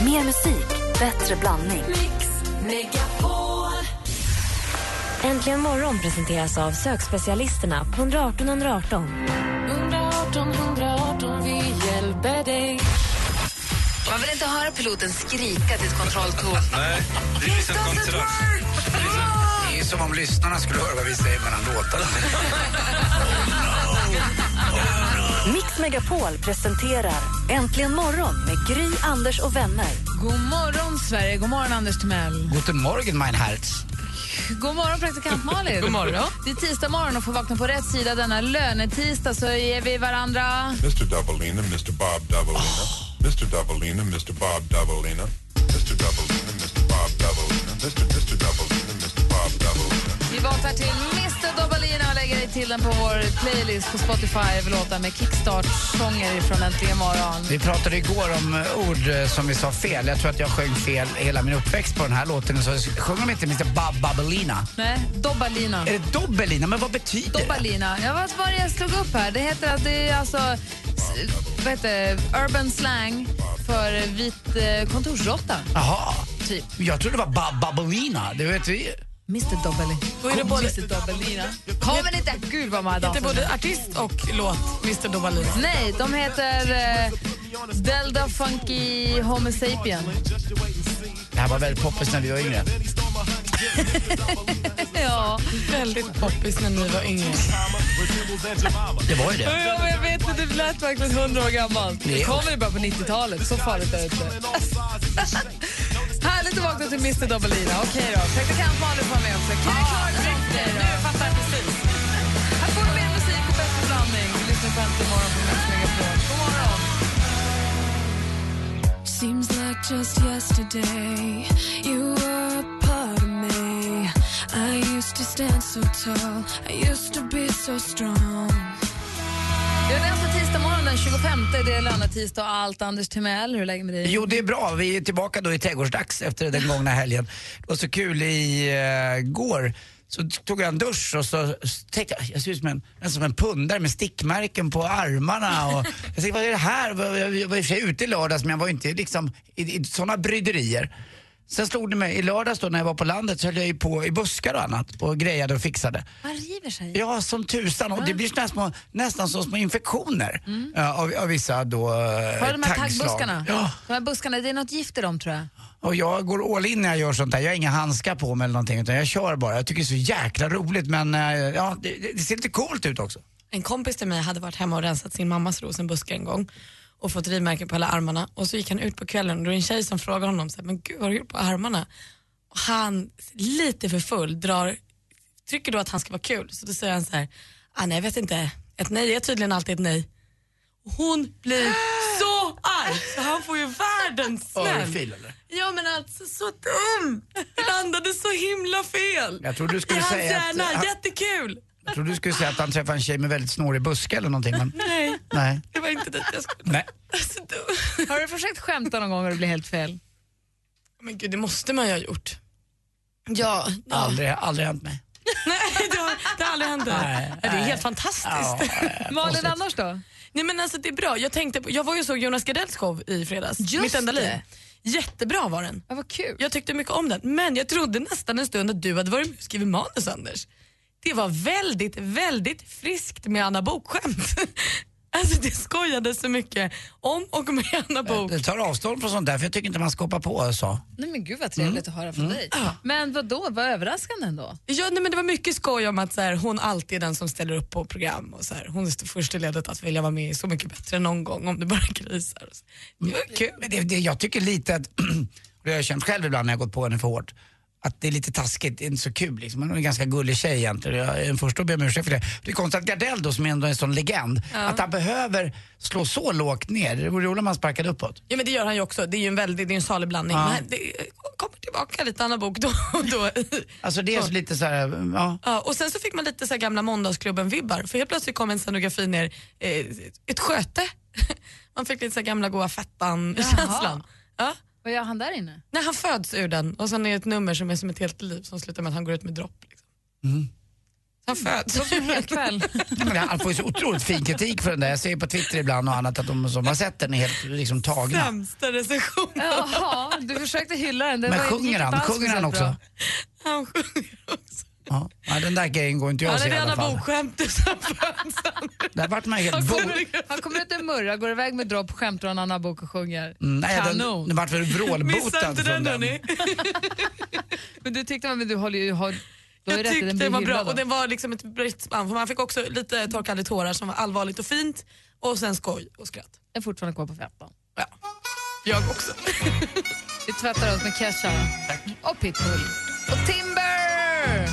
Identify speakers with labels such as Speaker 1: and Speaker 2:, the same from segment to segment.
Speaker 1: Mer musik, bättre blandning.
Speaker 2: Mix Megapol.
Speaker 3: Äntligen morgon presenteras av sökspecialisterna på 118 118.
Speaker 2: 118 118, vi hjälper dig.
Speaker 4: Man vill inte höra piloten skrika till ett kontrolltorn.
Speaker 5: Nej, det finns ett kontrakt.
Speaker 6: Det är ju som om lyssnarna skulle höra vad vi säger mellan låtarna.
Speaker 1: Mix Megapol presenterar Äntligen morgon med Gry, Anders och vänner.
Speaker 7: God morgon, Sverige. God morgon, Anders Timell.
Speaker 6: Guten Morgen, mein Herz.
Speaker 7: God morgon, praktikant Malin. God morgon. Det är tisdag morgon och får vakna på rätt sida denna lönetisdag så ger vi varandra...
Speaker 8: Mr. Doubleina, Mr. Bob Doubleina, Mr. Doubleina, Mr. Bob Doubleina, Mr. Doubleina, Mr. Bob Doubleina, Mr. Mr. Doubleina, Mr. Bob Doubleina.
Speaker 7: Vi vaknar till Mr. Dobalina och lägger till den på vår playlist på Spotify. Låtar med kickstart-sånger från Äntligen morgon.
Speaker 6: Vi pratade igår om eh, ord eh, som vi sa fel. Jag tror att jag sjöng fel hela min uppväxt på den här låten. Så sjöng de inte Mr. Bob Babelina?
Speaker 7: Nej, Dobalina.
Speaker 6: Är det Dobbelina? Men vad betyder det?
Speaker 7: Dobalina. Ja, vad var det jag slog upp här? Det heter att det är alltså s- vad heter, det? urban slang för vit eh, kontorsråtta,
Speaker 6: Jaha.
Speaker 7: typ.
Speaker 6: Jag trodde det var Bob Babelina. Det vet vi ju.
Speaker 7: Mr. Dobalina.
Speaker 9: Då är det både,
Speaker 7: Kommer inte... Gud, vad man har
Speaker 9: det är
Speaker 7: dansat.
Speaker 9: både artist och låt, Mr. Dobalina.
Speaker 7: Nej, de heter eh, Delta Funky Homo Sapien.
Speaker 6: Det här var väldigt poppis när vi var yngre.
Speaker 7: Ja.
Speaker 9: Väldigt poppis när ni var yngre.
Speaker 6: Det var ju det.
Speaker 7: Jag vet inte, det lät verkligen hundra år gammalt.
Speaker 6: Det kommer
Speaker 7: ju bara på 90-talet, så farligt är det inte. Härligt att vakna till Mr Dobalina. Okej då, praktikant Malin får vara med också. Kan du klara det nu? Jag fattar precis. Här får du mer musik och bättre blandning. Vi lyssnar på Äntligen morgon på Mix Megapol. God morgon!
Speaker 2: Seems like just yesterday you were a part of me. I used to stand so tall, I used to be so strong.
Speaker 7: Ja, det är alltså tisdag morgon den 25. Det är lönetisdag och allt. Anders Timell, hur är läget med dig?
Speaker 6: Jo, det är bra. Vi är tillbaka då i trädgårdsdags efter den gångna helgen. Det var så kul i eh, går. Så tog jag en dusch och så s- tänkte jag, jag ser ut som en, en, som en pundare med stickmärken på armarna. Och jag tänkte, vad är det här? Jag var- Jag var i och för sig ute i lördags men jag var inte liksom i, i sådana bryderier. Sen slog det mig, i lördags då när jag var på landet så höll jag ju på i buskar och annat och grejade och fixade.
Speaker 7: Man river sig.
Speaker 6: Ja, som tusan. Och det blir såna här små, nästan som små infektioner eh, av, av vissa då eh,
Speaker 7: Har du de här
Speaker 6: taggslag.
Speaker 7: taggbuskarna?
Speaker 6: Ja.
Speaker 7: De här buskarna, det är något gift i dem tror jag.
Speaker 6: Och jag går all in när jag gör sånt där. Jag har inga handskar på mig eller någonting utan jag kör bara. Jag tycker det är så jäkla roligt men eh, ja, det, det- det ser lite coolt ut också.
Speaker 9: En kompis till mig hade varit hemma och rensat sin mammas rosenbuske en gång och fått rivmärken på alla armarna och så gick han ut på kvällen och då är det en tjej som frågar honom så här, men gud vad har du gjort på armarna? Och han, lite för full, drar, tycker då att han ska vara kul så då säger han så här, ah, nej jag vet inte, ett nej är tydligen alltid ett nej. Och hon blir så arg så han får ju världens smäll.
Speaker 6: Örfil eller?
Speaker 9: Ja men alltså så dumt, det landade så himla fel.
Speaker 6: Jag trodde du
Speaker 9: I
Speaker 6: skulle
Speaker 9: hans
Speaker 6: säga att-
Speaker 9: hjärna,
Speaker 6: att-
Speaker 9: jättekul.
Speaker 6: Jag trodde du skulle säga att han träffade en tjej med väldigt snårig buske eller någonting men
Speaker 9: Nej,
Speaker 6: nej.
Speaker 9: det var inte dit jag skulle.
Speaker 6: Nej.
Speaker 9: Alltså, du-
Speaker 7: Har du försökt skämta någon gång och det blir helt fel?
Speaker 9: Men gud, det måste man ju ha gjort. Ja, ja.
Speaker 6: Aldrig, aldrig hänt mig.
Speaker 9: Nej, det, har, det har aldrig hänt.
Speaker 6: Nej,
Speaker 9: Nej, det är
Speaker 6: nej.
Speaker 9: helt fantastiskt.
Speaker 6: Ja, eh,
Speaker 7: Malin
Speaker 6: konstigt.
Speaker 7: annars då?
Speaker 9: Nej, men alltså, det är bra. Jag, tänkte på, jag var ju och såg Jonas Gardells show i fredags.
Speaker 7: Just
Speaker 9: Mitt enda
Speaker 7: det.
Speaker 9: liv. Jättebra var den.
Speaker 7: Ja, vad kul.
Speaker 9: Jag tyckte mycket om den, men jag trodde nästan en stund att du hade varit med och skrivit manus, Anders. Det var väldigt, väldigt friskt med Anna Book-skämt. Alltså det skojades så mycket om och med Anna Book.
Speaker 6: Jag tar avstånd från sånt där för jag tycker inte man ska hoppa på så.
Speaker 7: Nej men gud vad trevligt
Speaker 6: Mm.
Speaker 7: att höra från dig. Men vad då? vad överraskande ändå.
Speaker 9: Ja, nej, men det var mycket skoj om att så här, hon alltid är den som ställer upp på program. Och, så här, hon är först i ledet att vilja vara med i Så mycket bättre än någon gång om det bara krisar. Och så. Det var kul.
Speaker 6: Men det, det, jag tycker lite att, och det har jag känt själv ibland när jag gått på henne för hårt, att det är lite taskigt, det är inte så kul liksom. Hon är en ganska gullig tjej egentligen. Jag är den första att be om ursäkt för det. Det är konstigt att Gardell då, som ändå är en sån legend, att han behöver slå så lågt ner. Det vore roligt om han sparkade uppåt.
Speaker 9: Ja, men det gör han ju också. Det är ju en väldigt, det är en salig blandning. Men det kommer tillbaka lite Anna Bok då och då.
Speaker 6: Alltså det är så lite så här, ja.
Speaker 9: Ja, och sen så fick man lite så här gamla Måndagsklubben-vibbar för helt plötsligt kom en scenografi ner, eh, ett sköte. Man fick lite så här gamla goa Fettan-känslan. Ja.
Speaker 7: Vad gör han där inne?
Speaker 9: När han föds ur den och sen är det ett nummer som är som ett helt liv som slutar med att han går ut med dropp. Liksom. Han föds.
Speaker 7: Hel kväll.
Speaker 6: Nej, men Han får ju så otroligt fin kritik för den där. Jag ser ju på Twitter ibland och annat att de som har sett den är helt liksom tagna.
Speaker 9: Sämsta recension.
Speaker 7: Jaha, du försökte hylla den. den
Speaker 6: Men
Speaker 7: var- gick
Speaker 6: sjunger
Speaker 7: inte
Speaker 6: han?
Speaker 7: alls
Speaker 6: Sjunger han
Speaker 7: speciellt
Speaker 6: också?
Speaker 7: bra.
Speaker 9: Han sjunger också.
Speaker 6: Ja. Ja, den där grejen går inte jag
Speaker 9: Han
Speaker 6: att
Speaker 9: är
Speaker 6: se Alltså, i alla
Speaker 9: rena
Speaker 6: fall.
Speaker 9: bokskämtet som föds.
Speaker 6: Där vart man ju helt
Speaker 7: Han
Speaker 6: vå-
Speaker 7: kommer, han kommer ut i murra, går iväg med dropp, skämtar om en annan bok och sjunger.
Speaker 6: Mm, Nej, den,
Speaker 7: Kanon.
Speaker 6: den vart väl
Speaker 9: Missa
Speaker 6: vrålbotad
Speaker 9: inte
Speaker 6: från
Speaker 9: den
Speaker 6: den.
Speaker 9: hörni.
Speaker 7: Men du tyckte, men du håller ju, har, du har
Speaker 9: Jag
Speaker 7: ju rätt i
Speaker 9: tyckte
Speaker 7: den
Speaker 9: det
Speaker 7: blir
Speaker 9: var bra
Speaker 7: hyllad
Speaker 9: och
Speaker 7: då.
Speaker 9: det var liksom ett brett spann för man fick också lite torkande tårar som var allvarligt och fint och sen skoj och skratt.
Speaker 7: Jag är fortfarande kvar på 15.
Speaker 9: Ja. Jag också.
Speaker 7: Vi tvättar oss med Kesha. Och Pitbull. Och Timber!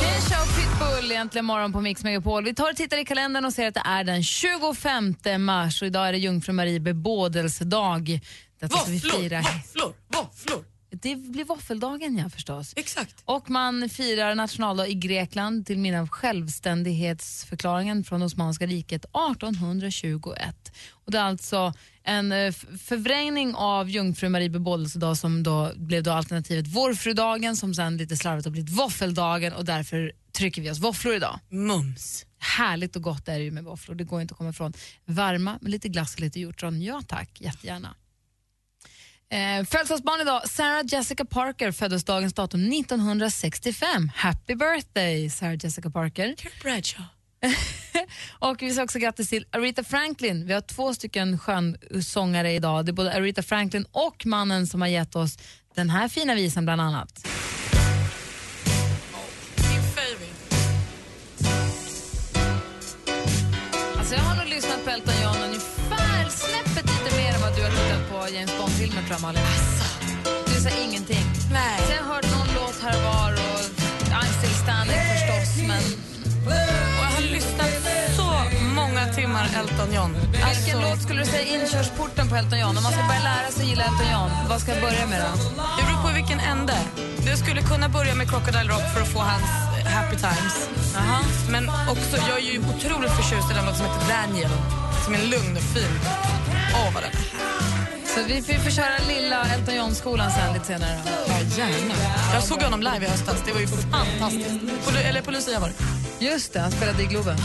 Speaker 7: Kesha och Pitbull egentligen morgon på Mix Megapol. Vi tar och tittar i kalendern och ser att det är den 25 mars och idag är det Jungfru Marie bebådelsedag. Detta ska Alltså, vi
Speaker 9: Våfflor,
Speaker 7: fira.
Speaker 9: våfflor, våfflor.
Speaker 7: Det blir våffeldagen ja förstås.
Speaker 9: Exakt.
Speaker 7: Och man firar nationaldag i Grekland till minne av självständighetsförklaringen från Osmanska riket 1821. Och det är alltså en eh, f- förvrängning av Jungfru Marie bebådelsedag som då blev då alternativet Vårfrudagen som sen lite slarvigt har blivit våffeldagen och därför trycker vi oss våfflor idag.
Speaker 9: Mums.
Speaker 7: Härligt och gott är det ju med våfflor, det går inte att komma ifrån. Varma med lite glass och lite hjortron, ja tack, jättegärna. Eh, Födelsedagsbarn idag, Sarah Jessica Parker föddes dagens datum 1965. Happy birthday Sarah Jessica Parker.
Speaker 9: Bradshaw.
Speaker 7: Och vi säger också grattis till Aretha Franklin. Vi har två stycken skönsångare idag. Det är både Aretha Franklin och mannen som har gett oss den här fina visan bland annat.
Speaker 9: Min favorit.
Speaker 7: Alltså jag har nog lyssnat på Elton John ungefär snäppet lite mer än vad du har tittat på James Bond-filmer tror jag Malin. Du sa ingenting.
Speaker 9: Nej.
Speaker 7: Sen hörde någon låt här och var och I'm still standing förstås men
Speaker 9: Och jag har lyssnat så många timmar Elton John.
Speaker 7: vilken låt skulle du säga är inkörsporten på Elton John? Om man ska börja lära sig gilla Elton John, vad ska jag börja med då?
Speaker 9: Det beror på vilken ände. Jag skulle kunna börja med Crocodile Rock för att få hans eh, Happy Times. Men också, jag är ju otroligt förtjust i den låt som heter Daniel. Som är lugn och fin. Åh, vad den
Speaker 7: Så vi får, vi får köra lilla Elton John-skolan sen lite senare. Då.
Speaker 9: Ja, gärna. Jag såg honom live i höstas. Det var ju fantastiskt. På, eller på Lucia var det.
Speaker 7: Just det, han spelade i Globen.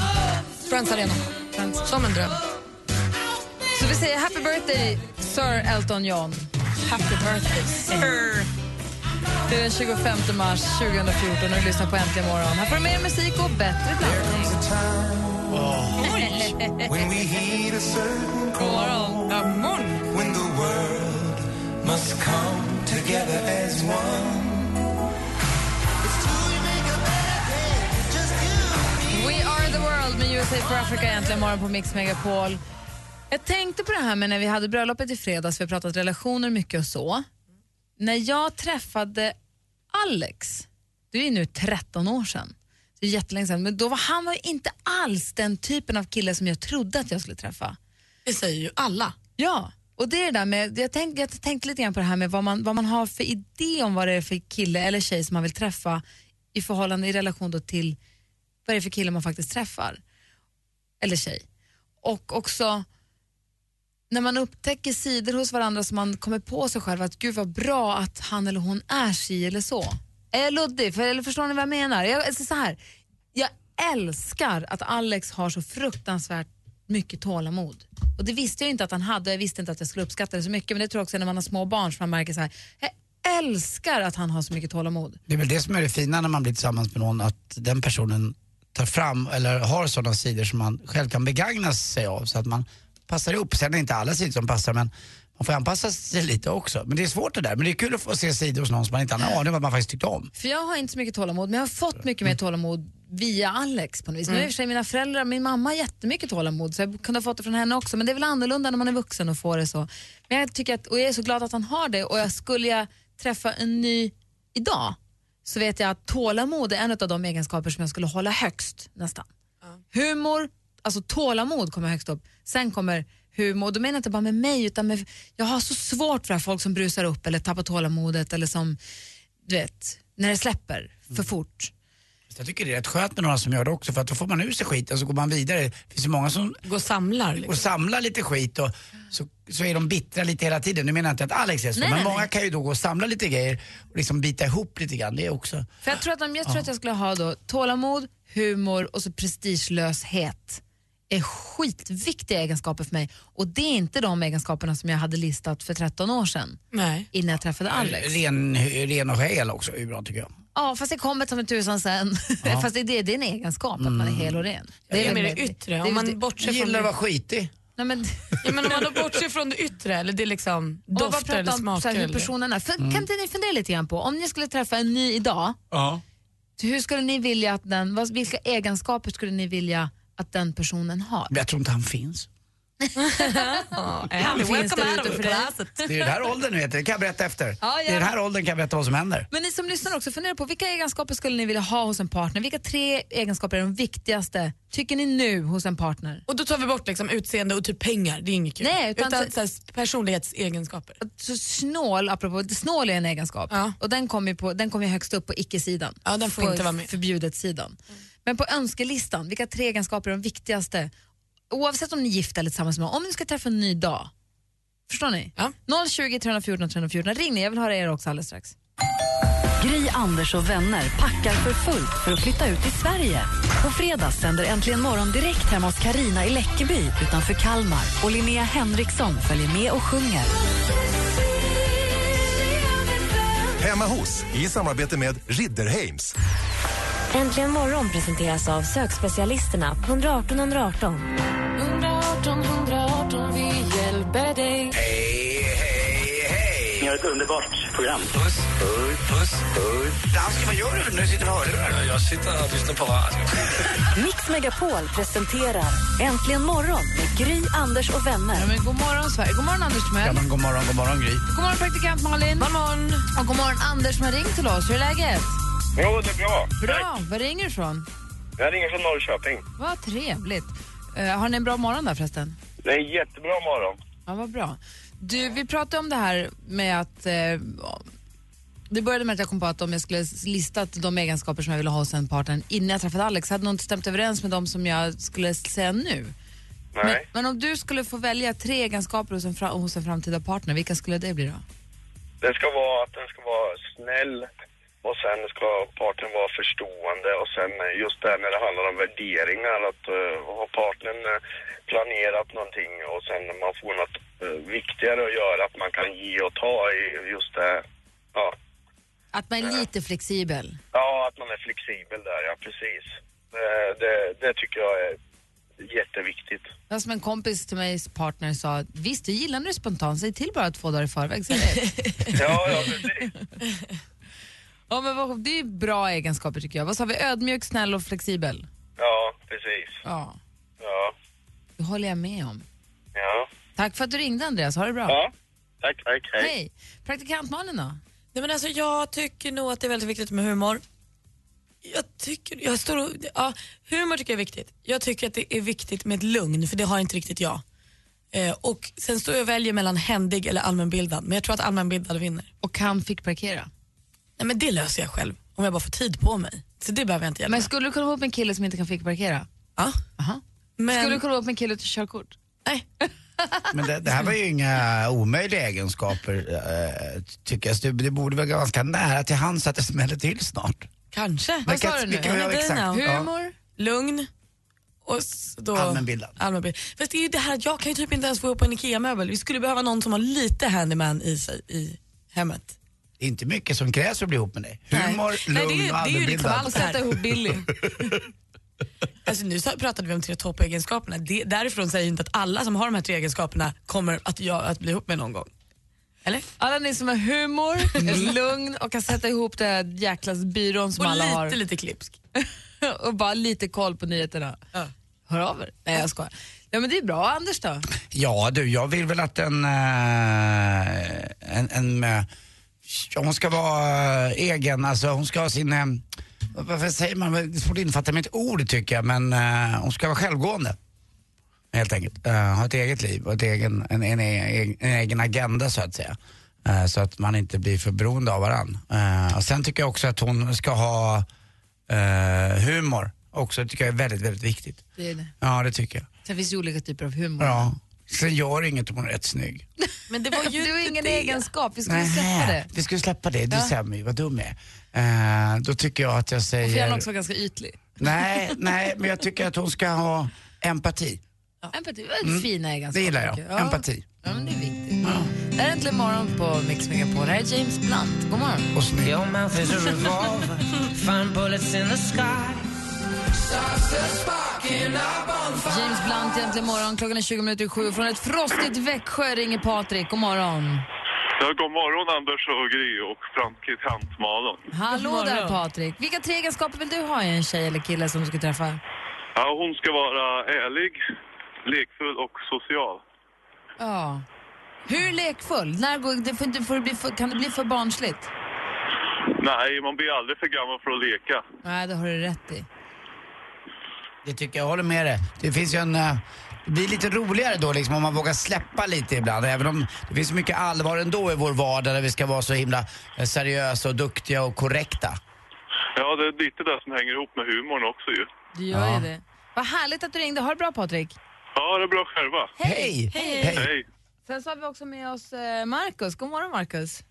Speaker 9: Friends Arena. Som en dröm.
Speaker 7: Så vi säger happy birthday Sir Elton John.
Speaker 9: Happy birthday, sir.
Speaker 7: Det är den 25 mars 2014 och du lyssnar på Äntligen morgon. Här får du mer musik och bättre blandning.
Speaker 5: When we heed a certain
Speaker 9: God morgon. Ja, morgon.
Speaker 5: when the world must come together as one.
Speaker 7: We are the world med USA for Africa äntligen morgon på Mix Megapol. Jag tänkte på det här med när vi hade bröllopet i fredags, vi har pratat relationer mycket och så. När jag träffade Alex, det är nu 13 år sedan, det är jättelänge sedan, men då var han var ju inte alls den typen av kille som jag trodde att jag skulle träffa.
Speaker 9: Det säger ju alla.
Speaker 7: Ja, och det är det där med, jag tänkte jag tänkte lite grann på det här med vad man, vad man har för idé om vad det är för kille eller tjej som man vill träffa i förhållande, i relation då till vad det är för kille man faktiskt träffar. Eller tjej. Och också när man upptäcker sidor hos varandra som man kommer på sig själv att gud vad bra att han eller hon är si eller så. Är jag luddig? För, eller förstår ni vad jag menar? Jag, alltså så här, jag älskar att Alex har så fruktansvärt mycket tålamod. Och det visste jag ju inte att han hade och jag visste inte att jag skulle uppskatta det så mycket men det tror jag också är när man har små barn som man märker så här, jag älskar att han har så mycket tålamod.
Speaker 6: Det är väl det som är det fina när man blir tillsammans med någon, att den personen tar fram eller har sådana sidor som man själv kan begagna sig av så att man passar ihop. Sen är det inte alla sidor som passar men man får anpassa sig lite också. Men det är svårt det där. Men det är kul att få se sidor hos någon som man inte hade en aning om att man faktiskt tyckte om.
Speaker 7: För jag har inte så mycket tålamod, men jag har fått mycket mer tålamod via Alex på något vis. Nu i och för sig mina föräldrar, min mamma har jättemycket tålamod så jag kunde ha fått det från henne också men det är väl annorlunda när man är vuxen och får det så. Men jag tycker att, och jag är så glad att han har det och jag skulle jag träffa en ny idag så vet jag att tålamod är en av de egenskaper som jag skulle hålla högst nästan. Humor, alltså tålamod kommer högst upp. Sen kommer humor, och då menar jag inte bara med mig utan med, jag har så svårt för det här folk som brusar
Speaker 9: Mm.
Speaker 7: upp eller tappar tålamodet eller som du vet, när det släpper för fort.
Speaker 6: Så jag tycker det är rätt skönt med några som gör det också för att då får man ur sig skiten så går man vidare. Det finns ju många som
Speaker 9: Gå och samlar. Liksom.
Speaker 6: och samlar lite skit och så, så är de bittra lite hela tiden. Nu menar jag inte att Alex är så,
Speaker 7: Nej,
Speaker 6: men
Speaker 7: nej,
Speaker 6: många
Speaker 7: nej.
Speaker 6: kan ju då gå och samla lite grejer och liksom bita ihop lite grann. Det är också...
Speaker 7: För jag tror, att om, jag tror att jag skulle ha då tålamod, humor och så prestigelöshet är skitviktiga egenskaper för mig. Och det är inte de egenskaperna som jag hade listat för 13 år sedan
Speaker 9: Nej.
Speaker 7: innan jag träffade Alex.
Speaker 6: Ren, ren och hel också är ju bra tycker jag.
Speaker 7: Ja, fast det kommer som en tusan sen. fast det, det, det är en egenskap, att man är hel och ren.
Speaker 9: Det Mm. är
Speaker 7: väl
Speaker 9: mer det
Speaker 7: möjligt.
Speaker 9: yttre.
Speaker 7: Det är
Speaker 9: Om man
Speaker 7: just det-
Speaker 9: bortser från
Speaker 6: Gillar att
Speaker 9: det,
Speaker 6: vara skitig.
Speaker 7: Nej, men,
Speaker 9: ja, men om man då bortser från det yttre, eller det är liksom
Speaker 7: om man bara
Speaker 9: dofter eller
Speaker 7: pratar om så
Speaker 9: smaker.
Speaker 7: här, hur
Speaker 9: eller- Mm.
Speaker 7: personen är. För, Kan inte ni fundera lite grann på, om ni skulle träffa en ny idag,
Speaker 6: Ja.
Speaker 7: hur skulle ni vilja att den, vad, vilka egenskaper skulle ni vilja att den personen har?
Speaker 6: Men jag tror inte han finns.
Speaker 9: Han
Speaker 7: finns där ute för dig.
Speaker 6: Det är ju den här åldern vet du, det kan jag berätta efter.
Speaker 7: Ja,
Speaker 6: Det är
Speaker 7: ja.
Speaker 6: den här åldern kan jag berätta vad som händer.
Speaker 7: Men ni som lyssnar också, fundera på vilka egenskaper skulle ni vilja ha hos en partner? Vilka tre egenskaper är de viktigaste, tycker ni nu, hos en partner?
Speaker 9: Och då tar vi bort liksom utseende och typ pengar, det är inget kul.
Speaker 7: Nej, utan
Speaker 9: utan
Speaker 7: så-
Speaker 9: så här, personlighetsegenskaper.
Speaker 7: Så snål, apropå, snål är en egenskap
Speaker 9: Ja.
Speaker 7: och den kommer ju på- den kommer ju högst upp på icke-sidan.
Speaker 9: Ja, den får
Speaker 7: på
Speaker 9: inte vara med. Mm.
Speaker 7: förbjudet-sidan. Men på önskelistan, vilka tre egenskaper är de viktigaste? Oavsett om ni är gifta eller tillsammans med någon, om ni ska träffa en ny dag. Förstår ni?
Speaker 9: Ja.
Speaker 7: 020 314 314. Ring ni, jag vill höra er också alldeles strax.
Speaker 1: Gry, Anders och vänner packar för fullt för att flytta ut i Sverige. På fredag sänder Äntligen morgon direkt hemma hos Karina i Läckeby utanför Kalmar. Och Linnea Henriksson följer med och sjunger.
Speaker 10: Hemma hos, i samarbete med Ridderheims.
Speaker 3: Äntligen morgon presenteras av sökspecialisterna på 118 118.
Speaker 6: Hej, hej, hej! Ni har ett underbart program. Puss, puss, puss. Dansken, vad gör du? Nu sitter du och hörlurar. Jag sitter och lyssnar på radio.
Speaker 1: Mix Megapol presenterar Äntligen morgon med Gry, Anders och
Speaker 7: Ja,
Speaker 1: vänner.
Speaker 7: men god morgon Sverige, god morgon Anders
Speaker 6: Ja,
Speaker 7: Timell.
Speaker 6: men god morgon, god morgon Gry.
Speaker 7: God morgon praktikant Malin. God morgon. Och god morgon Anders som har ringt till oss. Hur är läget?
Speaker 10: Jo, det är bra.
Speaker 7: Bra. Var ringer du ifrån?
Speaker 10: Jag ringer från Norrköping.
Speaker 7: Vad trevligt. Eh, har ni en bra morgon där förresten?
Speaker 10: Det är en jättebra morgon.
Speaker 7: Ja, vad bra. Du, vi pratade om det här med att... Eh, det började med att jag kom på att om jag skulle listat de egenskaper som jag ville ha hos en partner innan jag träffade Alex hade nog inte stämt överens med de som jag skulle säga nu. Men,
Speaker 10: Nej.
Speaker 7: men om du skulle få välja tre egenskaper hos en, fra, hos en framtida partner, vilka skulle det bli då?
Speaker 10: Det ska vara att den ska vara snäll och sen ska partnern vara förstående och sen eh, just det här när det handlar om värderingar att eh, har partnern eh, planerat någonting och sen när man får något eh, viktigare att göra att man kan ge och ta i just det. Ja.
Speaker 7: Att man är lite flexibel.
Speaker 10: Ja, att man är flexibel där, ja precis. Eh, Det, det tycker jag är jätteviktigt.
Speaker 7: Det var som en kompis till mig partner sa, visst du gillar när du är spontan, säg till bara två dagar i förväg. Så är det.
Speaker 10: Ja, ja precis.
Speaker 7: ja, men vad, det är bra egenskaper tycker jag. Vad sa vi? Ödmjuk, snäll och flexibel.
Speaker 10: Ja, precis.
Speaker 7: Ja,
Speaker 10: Ja,
Speaker 7: det håller jag med om.
Speaker 10: ja.
Speaker 7: Tack för att du ringde Andreas, ha det bra.
Speaker 10: ja. Tack, tack, hej.
Speaker 7: Hej! Praktikant Malin då?
Speaker 9: Nej, men alltså, jag tycker nog att det är väldigt viktigt med humor. Jag tycker, jag står och, ja, humor tycker jag är viktigt. Jag tycker att det är viktigt med ett lugn, för det har inte riktigt jag. Eh, och sen står jag och väljer mellan händig eller allmänbildad, men jag tror att allmänbildad vinner.
Speaker 7: Och han fick parkera.
Speaker 9: Nej, men det löser jag själv, om jag bara får tid på mig. Så det behöver jag inte hjälpa
Speaker 7: Men
Speaker 9: med.
Speaker 7: skulle du kunna vara ihop med en kille som inte kan fick parkera?
Speaker 9: Ja.
Speaker 7: Aha.
Speaker 9: Men,
Speaker 7: Skulle du kunna vara ihop med en kille utan körkort?
Speaker 9: nej,
Speaker 6: Men det, det här var ju inga omöjliga egenskaper, eh, tycker jag. Så Det, det borde vara ganska nära till hands att det smäller till snart.
Speaker 9: kanske.
Speaker 6: Men
Speaker 7: sa
Speaker 6: kan-
Speaker 7: du nu?
Speaker 6: vi kan-
Speaker 9: Ja, men
Speaker 6: exakt.
Speaker 9: Dina.
Speaker 6: Ja.
Speaker 7: Humor?
Speaker 9: lugn och s- då...
Speaker 6: Allmänbildad.
Speaker 9: Allmänbildad. Fast det är ju det här att jag kan ju typ inte ens få ihop en IKEA-möbel. Vi skulle behöva någon som har lite handyman i sig i hemmet.
Speaker 6: Det är inte mycket som krävs för att bli ihop med dig. Humor,
Speaker 9: Nej, det är-
Speaker 6: lugn
Speaker 9: det är ju
Speaker 6: och
Speaker 9: liksom
Speaker 6: allmänbildad.
Speaker 9: allt.
Speaker 7: Och sätta ihop Billy.
Speaker 9: Alltså nu sa- pratade vi om tre toppegenskaperna. Det, därifrån säger jag inte att alla som har de här tre egenskaperna kommer att, jag, att bli ihop med någon gång. Eller?
Speaker 7: Alla ni som har humor, är lugn och kan sätta ihop den här jäkla byrån som
Speaker 9: Och
Speaker 7: alla
Speaker 9: lite,
Speaker 7: har.
Speaker 9: lite klipsk.
Speaker 7: och bara lite koll på nyheterna.
Speaker 9: Ja.
Speaker 7: Hör av er. Nej, jag skojar. Ja, men det är bra. Anders då?
Speaker 6: Ja du, jag vill väl att en, eh, en, en eh, ja, hon ska vara eh, egen, alltså hon ska ha sin, eh, vad- varför säger man, det är svårt att infatta med ett ord tycker jag, men eh, hon ska vara självgående. Helt enkelt. Eh, ha ett eget liv och ett egen, en, en, en, en egen agenda så att säga. Eh, så att man inte blir för beroende av varandra. och sen tycker jag också att hon ska ha eh, humor också tycker jag är väldigt, väldigt viktigt.
Speaker 7: Det är det.
Speaker 6: Ja, det tycker jag.
Speaker 7: Sen finns det ju olika typer av humor.
Speaker 6: Ja. Sen gör det inget om hon är rätt snygg.
Speaker 9: Men det
Speaker 7: var ju Du har ingen egenskap, vi skulle släppa det.
Speaker 6: Vi skulle släppa det. Du
Speaker 7: Ja.
Speaker 6: säger mig vad dum jag är. Eh, då tycker jag att jag
Speaker 7: Och för
Speaker 6: säger...
Speaker 7: gärna också vara ganska ytlig.
Speaker 6: Nej, nej, men jag tycker att hon ska ha empati.
Speaker 7: Empati, det är
Speaker 6: Mm.
Speaker 7: fina egenskaper.
Speaker 6: Det gillar jag.
Speaker 7: tycker jag.
Speaker 6: Empati. Mm.
Speaker 7: Ja, men det är viktigt. Det här är Äntligen morgon på Mix Megapol. Här är James Blunt. God morgon.
Speaker 6: Och snygg.
Speaker 11: Your mouth is a revolver. Find bullets in the sky.
Speaker 7: James Blunt, Äntligen morgon. Klockan är 20 minuter i sju. Från ett frostigt Växjö ringer Patrik. God morgon.
Speaker 12: Ja, god morgon Anders och Gry och praktikant Malin.
Speaker 7: Hallå där Patrik. Vilka tre egenskaper vill du ha i en tjej eller kille som du ska träffa?
Speaker 12: Ja, hon ska vara ärlig, lekfull och social.
Speaker 7: Ja. Hur lekfull? När går, det får inte, får det bli för, kan det bli för barnsligt?
Speaker 12: Nej, man blir aldrig för gammal för att leka.
Speaker 7: Nej, det har du rätt i.
Speaker 6: Det tycker jag, jag håller med dig. Det finns ju en... eh, Det blir lite roligare då liksom om man vågar släppa lite ibland. Även om det finns mycket allvar ändå i vår vardag där vi ska vara så himla eh, seriösa och duktiga och korrekta.
Speaker 12: Ja, det är lite det som hänger ihop med humorn också ju.
Speaker 7: Du gör ju det. Vad härligt att du ringde. Ha det bra Patrik.
Speaker 12: Ja, det är bra själva.
Speaker 7: Hej! Hej. Hej.
Speaker 12: Hej.
Speaker 7: Sen så har vi också med oss eh, Markus. God morgon Markus.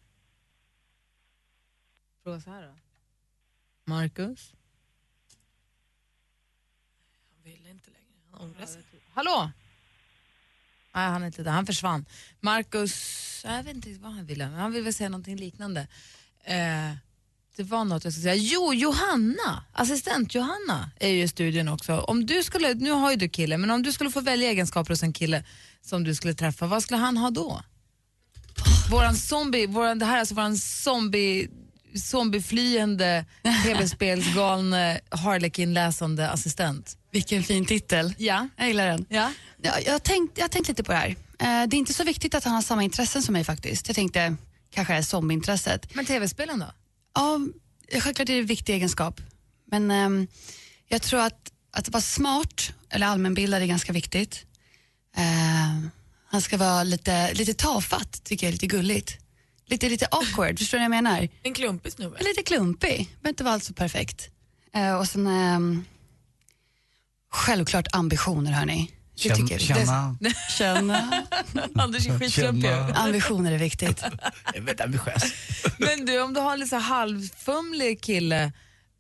Speaker 7: Fråga så här då. Markus? Hallå? Nej, han är inte där. Han försvann. Marcus, jag vet inte vad han ville, men han ville väl säga någonting liknande. Eh, det var något jag skulle säga. Jo, Johanna, assistent Johanna är ju i studion också. Om du skulle, nu har ju du kille, men om du skulle få välja egenskaper hos en kille som du skulle träffa, vad skulle han ha då? Våran zombie, våran, det här är alltså våran zombie zombieflyende, tv-spelsgalne, harlequin-läsande assistent.
Speaker 13: Vilken fin titel.
Speaker 7: Ja.
Speaker 13: Jag gillar den.
Speaker 7: Ja.
Speaker 13: Jag, jag, har tänkt, jag har tänkt lite på det här. Eh, det är inte så viktigt att han har samma intressen som mig faktiskt. Jag tänkte kanske det är zombieintresset.
Speaker 7: Men tv-spelen då?
Speaker 13: Ja, självklart är det en viktig egenskap. Men ehm, jag tror att, att vara smart eller allmänbildad är ganska viktigt. Eh, han ska vara lite, lite tafatt, tycker jag är lite gulligt. Lite, lite awkward, förstår ni vad jag menar?
Speaker 9: En klumpig snubbe.
Speaker 13: Lite klumpig, men inte vara alls så perfekt. Eh, och sen ehm, självklart ambitioner hörni. Det
Speaker 6: Känn-
Speaker 13: tycker jag.
Speaker 6: känna.
Speaker 13: Det, känna.
Speaker 7: Anders är skitklumpig. Känna.
Speaker 13: Ambitioner är viktigt.
Speaker 6: Jag är väldigt ambitiös.
Speaker 7: Men du, om du har en lite så här halvfumlig kille,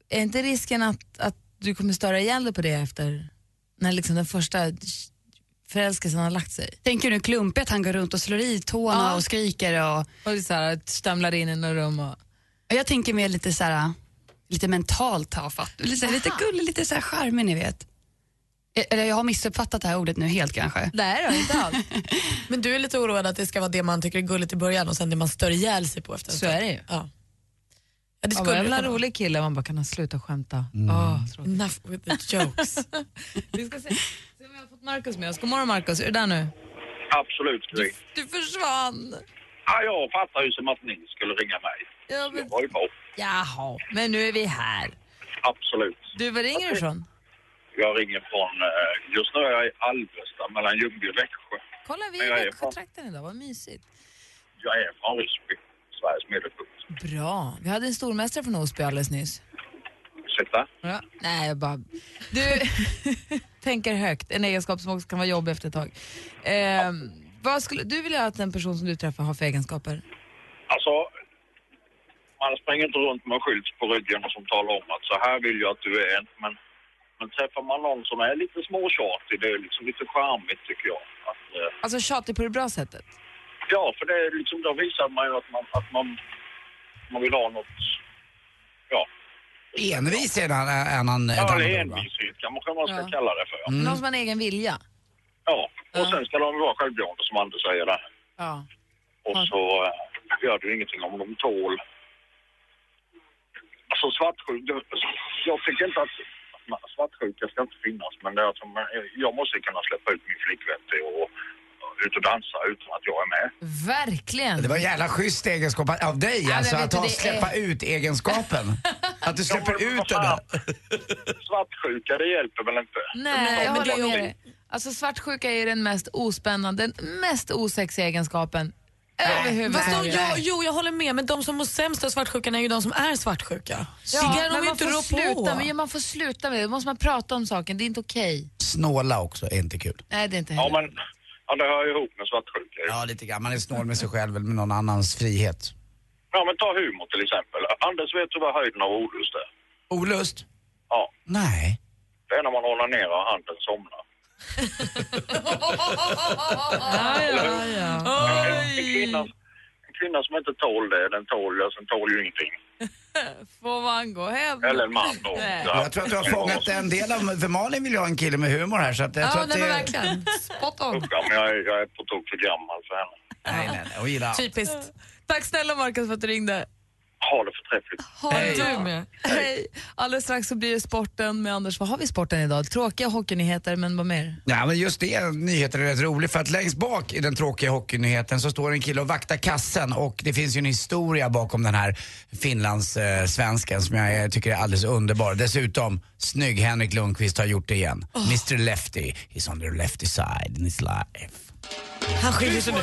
Speaker 7: är inte risken att, att du kommer störa ihjäl dig på det efter? När liksom den första förälskelsen har lagt sig?
Speaker 13: Tänker du klumpigt att han går runt och slår i tårna och skriker och...
Speaker 7: Och så här, stamlar in i några rum och...
Speaker 13: Jag tänker mer lite så här, lite mentalt tafatt. Lite, lite gullig, lite så här charmig ni vet. E- Eller jag har missuppfattat det här ordet nu helt kanske.
Speaker 7: Nej då, inte alls.
Speaker 9: Men du är lite oroad att det ska vara det man tycker är gulligt i början och sen det man stör ihjäl sig på efter.
Speaker 7: Så är det ju.
Speaker 9: Ja. Ja, det
Speaker 7: Ja,
Speaker 9: skulle
Speaker 7: jag vill ha
Speaker 9: kunna
Speaker 7: en
Speaker 9: vara.
Speaker 7: rolig kille, man bara kan han sluta skämta.
Speaker 9: Mm.
Speaker 7: Åh, tråkigt.
Speaker 9: Enough with the jokes.
Speaker 7: Vi ska se, se om vi har fått Markus med oss. God morgon Markus, är du där nu?
Speaker 14: Absolut, Gry.
Speaker 7: Du försvann!
Speaker 14: Ja, jag fattar ju som att ni skulle ringa mig.
Speaker 7: Ja, men,
Speaker 14: Jag var ju på.
Speaker 7: jaha, men nu är vi här.
Speaker 14: Absolut.
Speaker 7: Du, var ringer du ifrån?
Speaker 14: Jag ringer från... eh, Just nu är jag i Alvesta, mellan Ljungby och Växjö.
Speaker 7: Kolla, vi
Speaker 14: Men
Speaker 7: är
Speaker 14: jag
Speaker 7: i
Speaker 14: är
Speaker 7: Växjötrakten idag, vad mysigt.
Speaker 14: Jag är från Ryssby, Sveriges medelpunkt.
Speaker 7: Bra. Vi hade en stormästare från Osby alldeles nyss.
Speaker 14: Ursäkta?
Speaker 7: Ja. Nej, jag bara... Du tänker högt, en egenskap som också kan vara jobbig efter ett tag. Ehm, vad skulle du vilja att en person som du träffar har för egenskaper?
Speaker 14: Alltså, man springer inte runt med en skylt på ryggen och som talar om att så här vill jag att du är. Men, men träffar man någon som är lite småtjatig, det är liksom lite charmigt tycker jag. Att, eh,
Speaker 7: Alltså tjatig på det bra sättet.
Speaker 14: Ja, för det är liksom, då visar man ju att man, att man, man vill ha något... Ja,
Speaker 6: Envis är han, är han ett
Speaker 14: ja
Speaker 6: annat
Speaker 14: eller
Speaker 6: ord, va?
Speaker 14: envishet kanske man ska
Speaker 7: Ja.
Speaker 14: kalla det för. Ja.
Speaker 9: Mm.
Speaker 7: Någon som har en egen vilja.
Speaker 14: Ja, och sen ska de vara självgående som Anders säger där.
Speaker 7: Ja.
Speaker 14: Och så eh, gör det ingenting om de tål. Alltså svartsjuk, jag tycker inte att att svartsjuka ska inte finnas men det är att man- jag måste kunna släppa ut min flickvän till och ut och dansa utan att jag är med.
Speaker 7: Verkligen.
Speaker 6: Det var en jävla schysst egenskap av dig
Speaker 7: men
Speaker 6: alltså,
Speaker 7: vet
Speaker 6: att
Speaker 7: du,
Speaker 6: ha
Speaker 7: det
Speaker 6: släppa ut-egenskapen. Att du släpper ut den där.
Speaker 14: Svartsjuka det hjälper väl inte?
Speaker 7: Nej, jag håller med dig. Alltså svartsjuka är ju den mest ospännande, den mest osexiga egenskapen. överhuvudtaget.
Speaker 9: Fast de, ja, jo, jag håller med, men de som mår sämst av svartsjukan är ju de som är svartsjuka. det
Speaker 7: Ja,
Speaker 9: kan
Speaker 7: men
Speaker 9: de ju
Speaker 7: man
Speaker 9: inte
Speaker 7: får
Speaker 9: rå
Speaker 7: sluta
Speaker 9: på.
Speaker 7: med, ja, man får sluta med det. Då måste man prata om saken, det är inte okej.
Speaker 6: Snåla också är inte kul.
Speaker 7: Nej, det är inte
Speaker 6: Ja,
Speaker 7: heller.
Speaker 6: men-
Speaker 14: Ja, det hör ju ihop med svartsjuka.
Speaker 6: Ja, lite grann. Man är snål med sig själv eller med någon annans frihet.
Speaker 14: Ja, men ta humor till exempel. Anders, vet du vad höjden av olust är?
Speaker 6: Olust?
Speaker 14: Ja.
Speaker 6: Nej.
Speaker 14: Det är när man onanerar och handen somnar.
Speaker 9: ja,
Speaker 14: En, kvinna, en kvinna som inte tål det, den tål ju, sen tål ju ingenting.
Speaker 7: Får man gå hem?
Speaker 14: Eller en man då.
Speaker 7: Nej.
Speaker 14: Ja.
Speaker 6: Jag tror att du har fångat en del av... För Malin vill ju ha en kille med humor här så att jag tror att det...
Speaker 7: Spot
Speaker 14: on. Ja, men jag, är- jag är på tok för gammal för henne.
Speaker 6: Nej, nej, nej. Hon gillar allt.
Speaker 7: Typiskt. Tack snälla Marcus för att du ringde.
Speaker 14: Ha det förträffligt.
Speaker 7: Ha det bra. Hej. Alldeles strax så blir det sporten med Anders. Vad har vi i sporten idag? Tråkiga hockeynyheter, men vad mer?
Speaker 6: Ja, men just det, nyheten är rätt rolig för att längst bak i den tråkiga hockeynyheten så står en kille och vaktar kassen och det finns ju en historia bakom den här finlandssvensken eh, svensken som jag eh, tycker är alldeles underbar. Dessutom, snygg Henrik Lundqvist har gjort det igen. Mr Lefty, he's on the lefty side in his life.
Speaker 9: Han
Speaker 5: skiljer sig nu.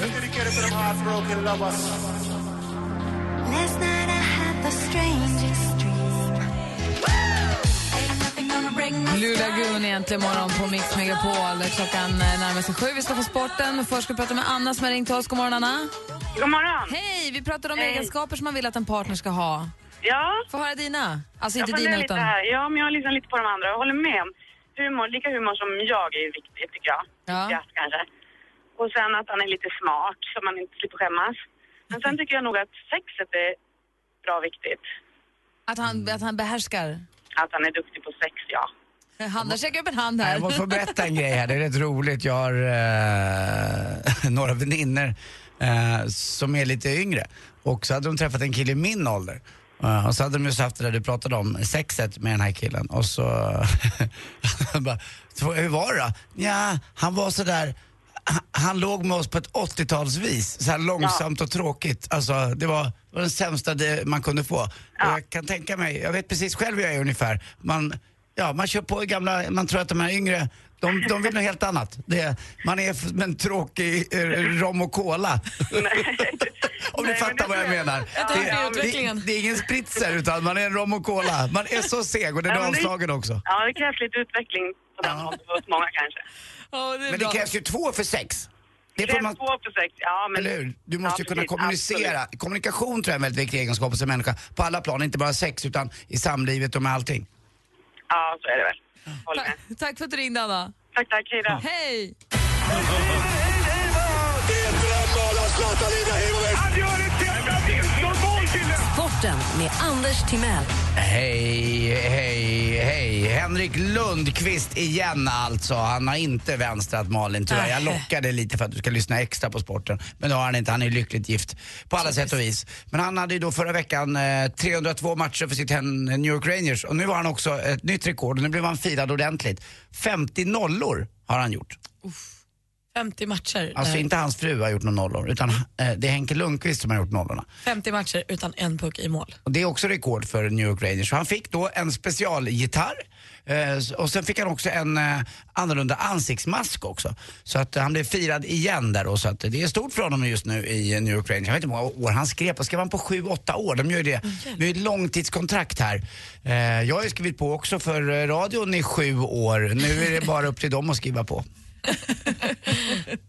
Speaker 15: Last night I had the strangest
Speaker 7: Blue Lagoon är äntligen morgon på Mix Megapol. Klockan eh, närmar sig sju. Vi ska få sporten. Först ska vi prata med Anna som har ringt till oss. God morgon, Anna.
Speaker 16: God morgon.
Speaker 7: Hej! Vi pratade om
Speaker 16: Hej.
Speaker 7: egenskaper som man vill att en partner ska ha.
Speaker 16: Ja.
Speaker 7: Få höra dina. Alltså inte
Speaker 16: jag funderar
Speaker 7: dina,
Speaker 16: lite
Speaker 7: utan...
Speaker 16: Här. Ja, men jag lyssnar lite på de andra. Jag håller med. Humor, lika humor som jag är viktigt, tycker jag.
Speaker 7: Ja.
Speaker 16: Viktigast, kanske. Och sen att han är lite smart, så man inte slipper skämmas. Men sen tycker jag nog att sexet är bra viktigt.
Speaker 7: Att han, att han behärskar.
Speaker 16: Att han är duktig på sex, ja.
Speaker 7: Han där sträcker upp en hand här.
Speaker 6: Jag måste få berätta en grej här, det är rätt roligt. Jag har eh, några väninnor eh, som är lite yngre och så hade de träffat en kille i min ålder. Eh, och så hade de just haft det där du pratade om, sexet med den här killen. Och så... jag bara, "Så hur var det då? Ja, han var sådär... Han, han låg med oss på ett 80-talsvis, så här långsamt och tråkigt. Alltså, det var, det var den sämsta det man kunde få. Och jag kan tänka mig, jag vet precis själv hur jag är ungefär. Man, ja, man kör på i gamla, man tror att de här yngre, de, de vill något helt annat. Det, man är f- en tråkig eh, rom och cola. Om du fattar vad jag menar.
Speaker 9: Jag tänkte det är
Speaker 6: Det, det,
Speaker 9: utvecklingen.
Speaker 6: det är ingen spritzer utan man är en rom och cola. Man är så seg och den
Speaker 16: Ja,
Speaker 6: är
Speaker 16: men det-
Speaker 6: avslagen också.
Speaker 16: Ja, det krävs lite utveckling på den hållet hos många kanske.
Speaker 6: Men det krävs ju två för sex.
Speaker 16: Det
Speaker 6: får
Speaker 16: krävs
Speaker 6: man-
Speaker 16: två för sex, ja. Men...
Speaker 6: Eller hur? Du
Speaker 16: Ja,
Speaker 6: måste ju kunna
Speaker 16: precis,
Speaker 6: kommunicera.
Speaker 16: absolut.
Speaker 6: Kommunikation tror jag är en väldigt viktig egenskap hos en människa på alla plan, inte bara sex utan i samlivet och med allting.
Speaker 16: Ja, så är det väl.
Speaker 7: Ta- tack för att du ringde, Anna.
Speaker 16: Tack, tack. Hej då.
Speaker 7: Hej!
Speaker 1: Sporten med Anders Timell.
Speaker 6: Hej, hej, hej. Henrik Lundqvist igen alltså. Han har inte vänstrat Malin tyvärr.
Speaker 16: Äh.
Speaker 6: Jag lockade lite för att du ska lyssna extra på sporten. Men det har han inte. Han är lyckligt gift på alla sätt och vis. Men han hade ju då förra veckan eh, 302 matcher för sitt hem New York Rangers. Och nu har han också ett nytt rekord. Och nu blev han firad ordentligt. 50 nollor har han gjort.
Speaker 9: 50 matcher. eh,
Speaker 6: Alltså
Speaker 9: Nej,
Speaker 6: inte hans fru har gjort någon nollor. Utan eh, det är Henke Lundqvist som har gjort nollorna.
Speaker 9: 50 matcher utan en puck i mål.
Speaker 6: Och det är också rekord för New York Rangers. Så han fick då en specialgitarr eh, och sen fick han också en eh, annorlunda ansiktsmask också. Så att eh, han blev firad igen där då. Så att det är stort för honom just nu i eh, New York Rangers. Jag vet inte hur många år han skrev på. Skrev han på sju, åtta år? De gör ju det. Det är ett långtidskontrakt här. Eh, jag har ju skrivit på också för eh, radion i sju år. Nu är det bara upp till dem att skriva på.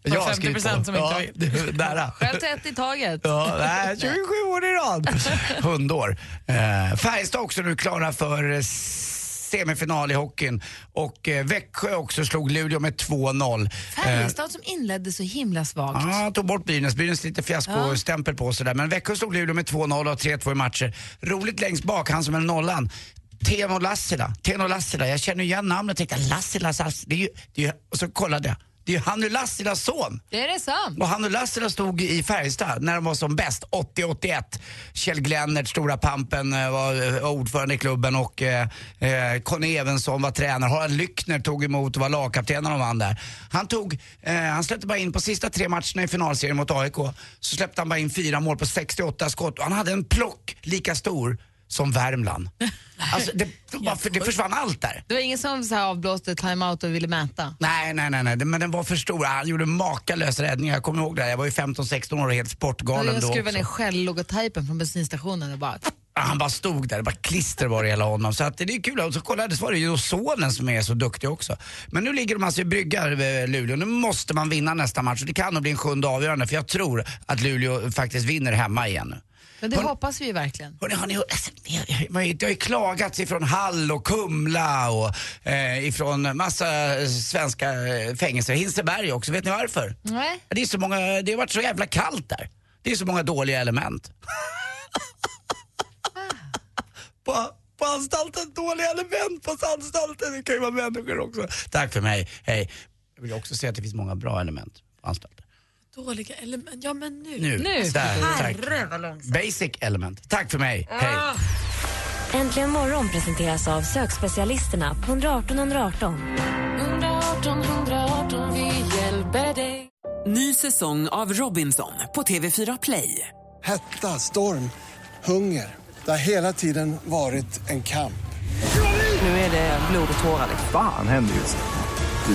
Speaker 6: Jag har skrivit på.
Speaker 7: 50% som inte
Speaker 6: ja,
Speaker 7: vill.
Speaker 6: det- nära.
Speaker 7: Själv till ett i taget.
Speaker 6: Ja, nej, 27 år i rad. Hundår. Eh, Färjestad också nu klara för eh, semifinal i hockeyn. Och eh, Växjö också slog Luleå med 2-0. Eh,
Speaker 7: Färjestad som inledde så himla svagt.
Speaker 6: Ja, tog bort Brynäs. Brynäs lite fiaskostämpel på sig där. Men Växjö slog Luleå med 2-0 och har 3-2 i matcher. Roligt längst bak, han som är nollan. Teemu Lassila. Teemu Lassila. Jag känner igen namnet och tänkte Lassila, Lassila. Det är ju, det är ju, och så kollade jag. Det är ju Hannu Lassilas son.
Speaker 7: Det är det sant.
Speaker 6: Och han och Lassila stod i Färjestad när de var som bäst, 80-81. Kjell Glennert, stora pampen, eh, var eh, ordförande i klubben och eh, eh, Conny Evensson var tränare. Harald Lyckner tog emot och var lagkapten när de vann där. Han, tog, eh, han släppte bara in på sista tre matcherna i finalserien mot AIK, så släppte han bara in fyra mål på 68 skott och han hade en plock lika stor som Värmland. Alltså, det, varför, det försvann allt där.
Speaker 7: Det var ingen som så här avblåste timeout och ville mäta?
Speaker 6: Nej, nej, nej, nej. det- men den var för stor. Han gjorde makalösa räddningar. Jag kommer ihåg det. här. Jag var ju 15-16 år och helt sportgalen
Speaker 7: jag
Speaker 6: då
Speaker 7: skruvade
Speaker 6: också.
Speaker 7: ner Shell-logotypen från bensinstationen och bara...
Speaker 6: Ja, Han bara stod där, det bara klister var det hela honom. Så att det är kul. Och så kollade så var det ju då sonen som är så duktig också. Men nu ligger de alltså i brygga, eh, Luleå. Nu måste man vinna nästa match och det kan nog bli en sjunde avgörande för jag tror att Luleå faktiskt vinner hemma igen nu.
Speaker 7: Men det hoppas vi ju verkligen.
Speaker 6: Hörrni, har ni hört? Alltså, ni har- man har ju- Det har ju klagats ifrån Hall och Kumla och eh, ifrån massa eh, svenska eh, fängelser. Hinseberg också, vet ni varför?
Speaker 7: Nej.
Speaker 6: Det, är så många, det har varit så jävla kallt där. Det är så många dåliga element. på, på anstalten, dåliga element på anstalten. Det kan ju vara människor också. Tack för mig, hej. Jag vill också säga att det finns många bra element på anstalten.
Speaker 9: Dåliga element. Ja, men nu.
Speaker 6: Nu. Nu. Där, tack.
Speaker 9: Herre, vad långsamt. Ah.
Speaker 6: Basic element. Tack för mig, hej.
Speaker 3: Äntligen morgon presenteras av sökspecialisterna på 118 118.
Speaker 17: 118 118, vi hjälper dig. Ny säsong av Robinson på TV4 Play.
Speaker 18: Hetta, storm, hunger. Det har hela tiden varit en kamp.
Speaker 17: Nu är det blod och tårar.
Speaker 19: Fan händer just nu.